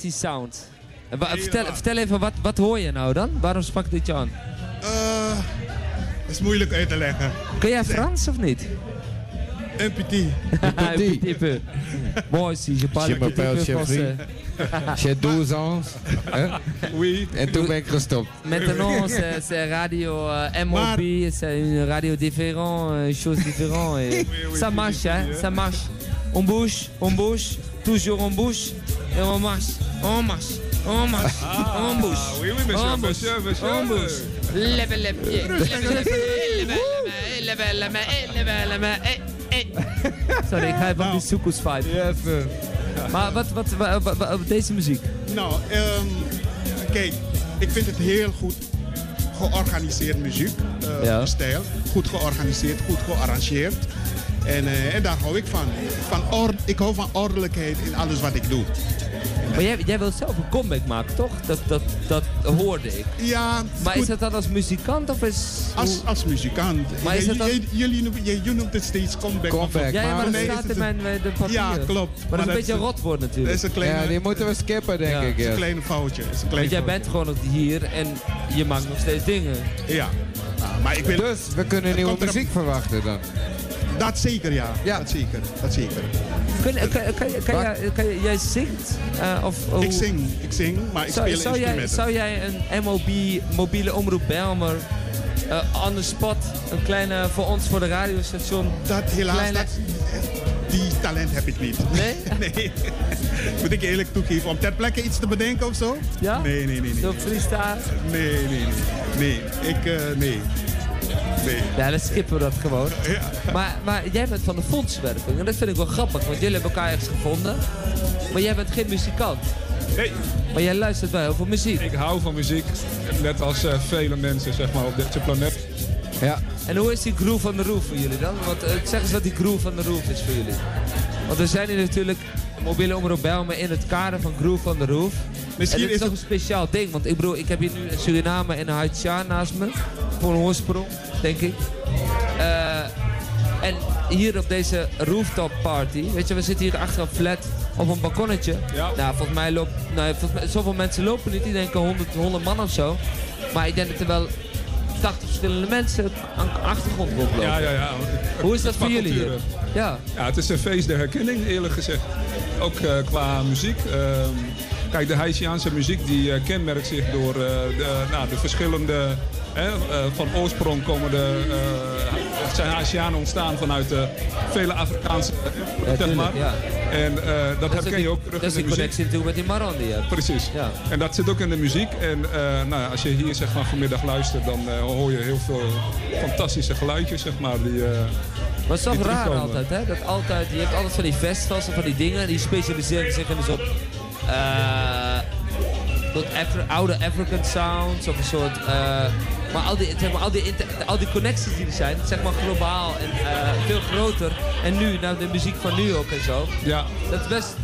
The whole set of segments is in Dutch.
die sound? En wa- vertel, vertel even, wat, wat hoor je nou dan? Waarom sprak dit je aan? Eh, is moeilijk uit te leggen. Kun jij Frans of niet? MPT. Petit peu. Moi aussi, je parle Je un petit m'appelle peu Jeffrey. français. J'ai 12 ans. Hè? Oui. En toen ben ik gestopt. Maintenant, c'est c'est radio euh, MOP, c'est une radio différente, euh, chose différente. Et oui, ça c'est marche, hein, difficile, hein. ça marche. On bouge, on bouge, toujours on bouge, et on marche, on marche, on marche, on bouge. Ah, oui, oui, monsieur, on bouge, monsieur, monsieur. On bouge. Lève les pieds, lève les pieds, lève la main, lève la main, lève la main, eh, eh. Sorry, ik ga even op die soekoes vibe. Maar wat, wat, wa- wa- wa- deze muziek? Nou, ehm, kijk, ik vind het heel goed georganiseerd muziek, eh, Ja. die stijl. Goed georganiseerd, goed gearrangeerd. En, eh, en daar hou ik van. van orde, ik hou van ordelijkheid in alles wat ik doe. Maar jij, jij wilt zelf een comeback maken, toch? Dat, dat, dat hoorde ik. Ja, Maar goed, is dat dan als muzikant of is... als, als muzikant. Maar Jij- is het dan- jij- jullie, noemen- jij- je noemt het steeds comeback. Comeback. Ja, ja, maar dat Nee, staat is in het- mijn eh, de papier. Ja, klopt. Maar dat Maar is een dat beetje is- rot wordt Dat natuurlijk. is een kleine, Ja, die moeten we skippen, denk Ja. ik. is ja. een klein foutje. is een klein Want jij bent foutje. gewoon nog hier en je maakt nog steeds dingen. Ja. Ah, maar ik wil... Dus we kunnen nieuwe komt er- muziek verwachten dan. Dat zeker, ja. Ja. Dat zeker. Dat zeker. Kun, kan, kan, kan, kan, jij- kan jij- jij zingt? eh, of, hoe- Ik zing, ik zing, maar ik zou, speel zou, jij, instrumenten. zou jij een MOB, mobiele omroep Belmer, eh on the spot, een kleine voor ons, voor de radiostation... Dat helaas, Kleine- dat, die talent heb ik niet. Nee? Nee. Moet ik eerlijk toegeven. Om ter plekke iets te bedenken of zo? Ja? Nee, nee, nee. Nee, Zo freestyle? nee, nee. nee. Nee, ik, eh, nee. Nee. Ja, dan skippen we dat gewoon. Ja. Maar, maar jij bent van de fondswerving en dat vind ik wel grappig, want jullie hebben elkaar ergens gevonden. Maar jij bent geen muzikant, Hey, maar jij luistert wel heel veel muziek. ik hou van muziek, net als eh, vele mensen zeg maar, op deze planeet. Ja. En hoe is die groove van de roof voor jullie dan? Want eh, zeg eens wat die groove van de roof is voor jullie. Want we zijn hier natuurlijk mobiele omroep Bijlmer in het kader van groove van de roof. Misschien en dit is is toch een speciaal ding, want ik bedoel, ik heb hier nu een Suriname en een Haitiaan naast me. Voor een oorsprong, denk ik. Eh, en hier op deze rooftop party, weet je, we zitten hier achter een flat op een balkonnetje. Ja. Nou, volgens mij loopt, nou, volgens mij- zoveel mensen lopen niet, die denken 100, 100 man of zo. Maar ik denk dat er wel 80 verschillende mensen aan de achtergrond rondlopen. Ja, ja, ja. Hoe is dat voor jullie hier? Culturen. Ja. Ja, het is een feest der herkenning, eerlijk gezegd. Ook eh, qua muziek. Ehm, kijk, de Haitiaanse muziek die eh, kenmerkt zich door eh, de, nou, de verschillende... Hè, eh, van oorsprong komen de... eh, het zijn Haitianen ontstaan vanuit eh, vele Afrikaanse... eh, Ja, zeg maar. tuurlijk, ja. En eh, dat, is herken je ook terug dat is die in de muziek. connectie natuurlijk met die Maron die je hebt. Precies. Ja. En dat zit ook in de muziek. En eh, nou, ja, als je hier zeg maar, vanmiddag luistert, dan eh, hoor je heel veel fantastische geluidjes. Zeg maar, die, eh, Maar het is Die toch raar terugkomen. altijd, hè? Dat altijd, je hebt altijd van die festivals en van die dingen, die specialiseren zich in een soort... eh, soort Afri- oude African sounds of een soort... eh, maar al die, zeg maar, al, die inter- al die connecties die er zijn, zeg maar globaal en eh, veel groter. En nu, nou de muziek van nu ook en zo. ja, Dat is best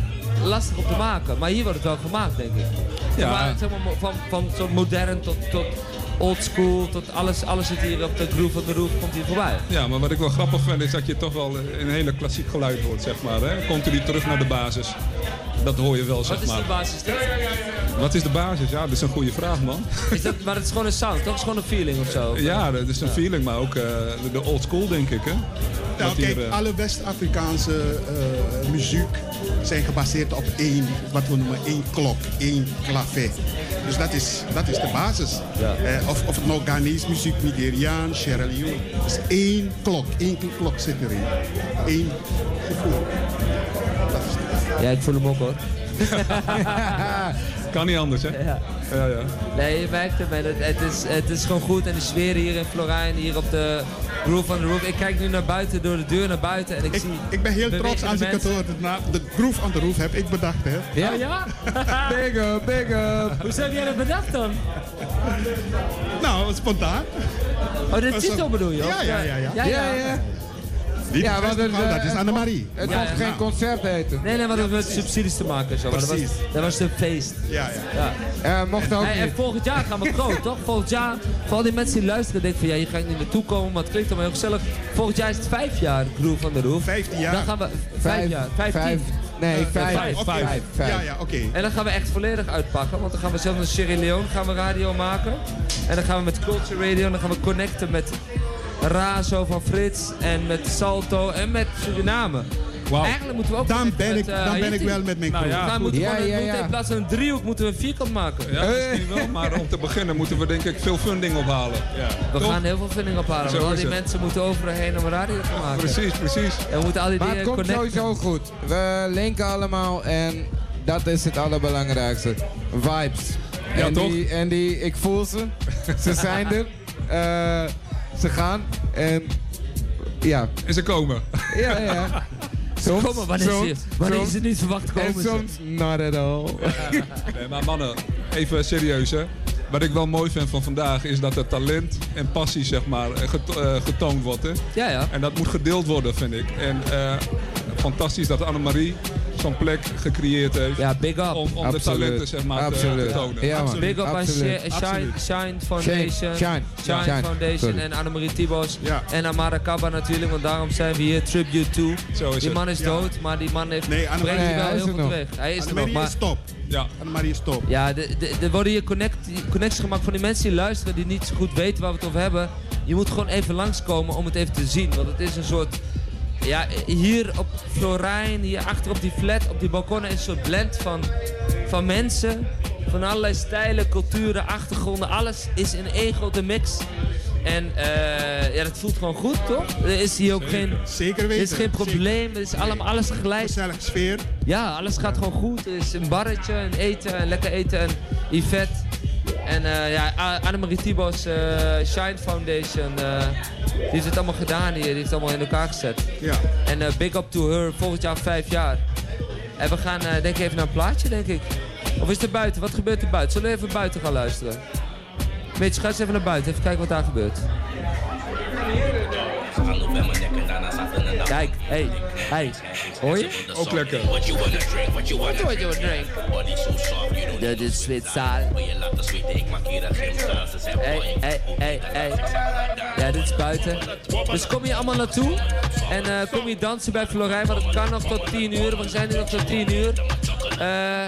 lastig om te maken, maar hier wordt het wel gemaakt, denk ik. Ja. Maar, zeg maar, mo- van, van zo modern tot, tot old school, tot alles, alles zit hier op de groove van de roof, komt hier voorbij. ja, maar wat ik wel grappig vind is dat je toch wel eh, een hele klassiek geluid hoort. Zeg maar, hè? Continu terug naar de basis. Dat hoor je wel, Wat zeg is die maar. basis dit? Wat is de basis? Ja, dat is een goede vraag, man. Is dat, maar het is gewoon een sound, toch? Het is gewoon een feeling of zo. Ja, dat is een feeling, maar ook eh, de old school, denk ik. Hè? Nou, Wat hier, kijk, eh, alle West-Afrikaanse eh, muziek zijn gebaseerd op één, wat we noemen één klok, één clavet. Dus dat is, dat is de basis. Eh, of, of het nou Ghanese muziek, Nigeriaan, Sierra Leone. Het is één klok, één klok zit erin. Eén gevoel. ja, ik voel hem ook hoor. Kan niet anders, hè? Ja. Ja, ja. Nee, je merkt het, man. Het, het is, het is gewoon goed. En de sfeer hier in Florijn, hier op de roof van de roof. Ik kijk nu naar buiten, door de deur naar buiten. En ik, Ik, zie... ik ben heel bewegende trots als ik het mensen. hoor. De naam- De groove aan de roof heb ik bedacht, hè. Oh ja? Big up, big up. Hoe heb jij dat bedacht dan? Oh, Nou, spontaan. Oh, de zo. titel bedoel je? Ja, ja, ja, ja. Ja, ja. Die Ja, festival, want het, eh, dat is het Annemarie. Het Ja, mocht ja. nou. geen concert heten. Nee, nee, maar dat heeft met subsidies te maken. en Zo. Maar Dat, was, Precies. dat was een feest. Ja, ja. Ja. Eh, mocht ook Hey, en niet. volgend jaar gaan we groot, toch? Volgend jaar, voor al die mensen die luisteren, denken van ja, hier ga ik niet naartoe komen, maar het klinkt allemaal heel gezellig. Volgend jaar is het vijf jaar Groove van de Roof. 15 Dan jaar. gaan we vijf jaar, vijftien. vijf. Nee, eh, vijf. vijf, Oké. vijf. Ja, ja, oké. En dan gaan we echt volledig uitpakken. Want dan gaan we zelfs een Sierra Leone gaan we radio maken. En dan gaan we met Culture Radio. En dan gaan we connecten met Razo van Frits. En met Salto. En met Suriname. Wauw. Eigenlijk moeten we ook Dan connecten ben ik, met, eh, dan ben ik Haiti. wel met mijn Nou crew. ja, Daar goed. moeten we Ja, gewoon een- ja, moeten ja. in plaats van een driehoek moeten we een vierkant maken. Ja, misschien wel, maar om te beginnen moeten we denk ik veel funding ophalen. Ja. We Toch? gaan heel veel vinding ophalen. Zo Want al is die het. mensen moeten overal heen om radio te maken. Precies, precies. En we moeten al die Maar het dingen komt connecten. sowieso goed. We linken allemaal en dat is het allerbelangrijkste. Vibes. Ja, en toch? Die, en die, ik voel ze. ze zijn er. Eh, ze gaan. En ja, En ze komen. ja, ja. Soms, Kom maar, wanneer, soms, is, het, wanneer soms. is het niet verwacht En komen? ze. soms not at all. Nee, maar mannen, even serieus hè. Wat ik wel mooi vind van vandaag is dat het talent en passie zeg maar eh, geto- eh, getoond wordt. Hè? Ja, ja. En dat moet gedeeld worden vind ik. En eh, fantastisch dat Annemarie zo'n plek gecreëerd heeft. Ja, big up. Om, om de Absoluut. talenten zeg maar te- Absoluut. te tonen. Ja, man. Big up aan Absoluut. Shine, Shine, Shine Foundation. Shine, Shine, Shine, Foundation sorry. en Annemarie Thibos. Ja. En Amara Kaba natuurlijk, want daarom zijn we hier. Tribute to. Zo is die het. man is Ja. dood, maar die man heeft, Nee, Annemarie- brengt Nee, hier wel hij is heel er veel nog. teweeg. Hij is er nog, Annemarie maar... is top. Ja. Annemarie is top. Ja, de- de- er worden hier connect- connecties gemaakt van die mensen die luisteren, die niet zo goed weten waar we het over hebben. Je moet gewoon even langskomen om het even te zien. Want het is een soort. Ja, hier op Florijn, hier achter op die flat, op die balkonnen, is een soort blend van, van mensen. Van allerlei stijlen, culturen, achtergronden. Alles is in één grote mix. En eh, ja, dat voelt gewoon goed, toch? Er is hier ook geen. Zeker Er weten. is geen probleem, er is allemaal alles Zeker. gelijk. Gezellige sfeer. Ja, alles gaat gewoon goed. Er is een barretje, een eten, een lekker eten en Yvette. En eh ja, A- Annemarie Thibos, eh, Shine Foundation, eh, die heeft het allemaal gedaan hier. Die heeft het allemaal in elkaar gezet. Ja. En eh, big up to her, volgend jaar vijf jaar. En we gaan eh, denk ik even naar een plaatje, denk ik. Of is het er buiten? Wat gebeurt er buiten? Zullen we even buiten gaan luisteren? Mitch, ga eens even naar buiten. Even kijken wat daar gebeurt. Kijk, hey, hey. Hoor je? Ook lekker. Wat je drink? Dit is Zwitser. Hey, hey, hey, hey. Ja, dit is buiten. Dus kom hier allemaal naartoe. En eh, kom hier dansen bij Florijn, want het kan nog tot 10 uur. We zijn nu nog tot 10 uur. Eh,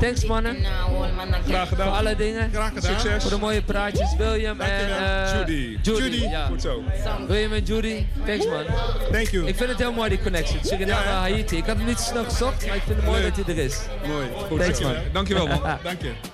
thanks mannen. Graag Voor gedaan. alle dingen. Graag gedaan. Succes. Voor de mooie praatjes. William en... eh, Judy. Judy. Judy. ja. Goed zo. William en Judy. Thanks man. Thank you. Ik vind het heel mooi die connection. Suriname Ja, ja. Haiti. Ik had hem niet zo snel gezocht, maar ik vind het mooi dat hij er is. Mooi. Thanks man. Dankjewel man. Dank je.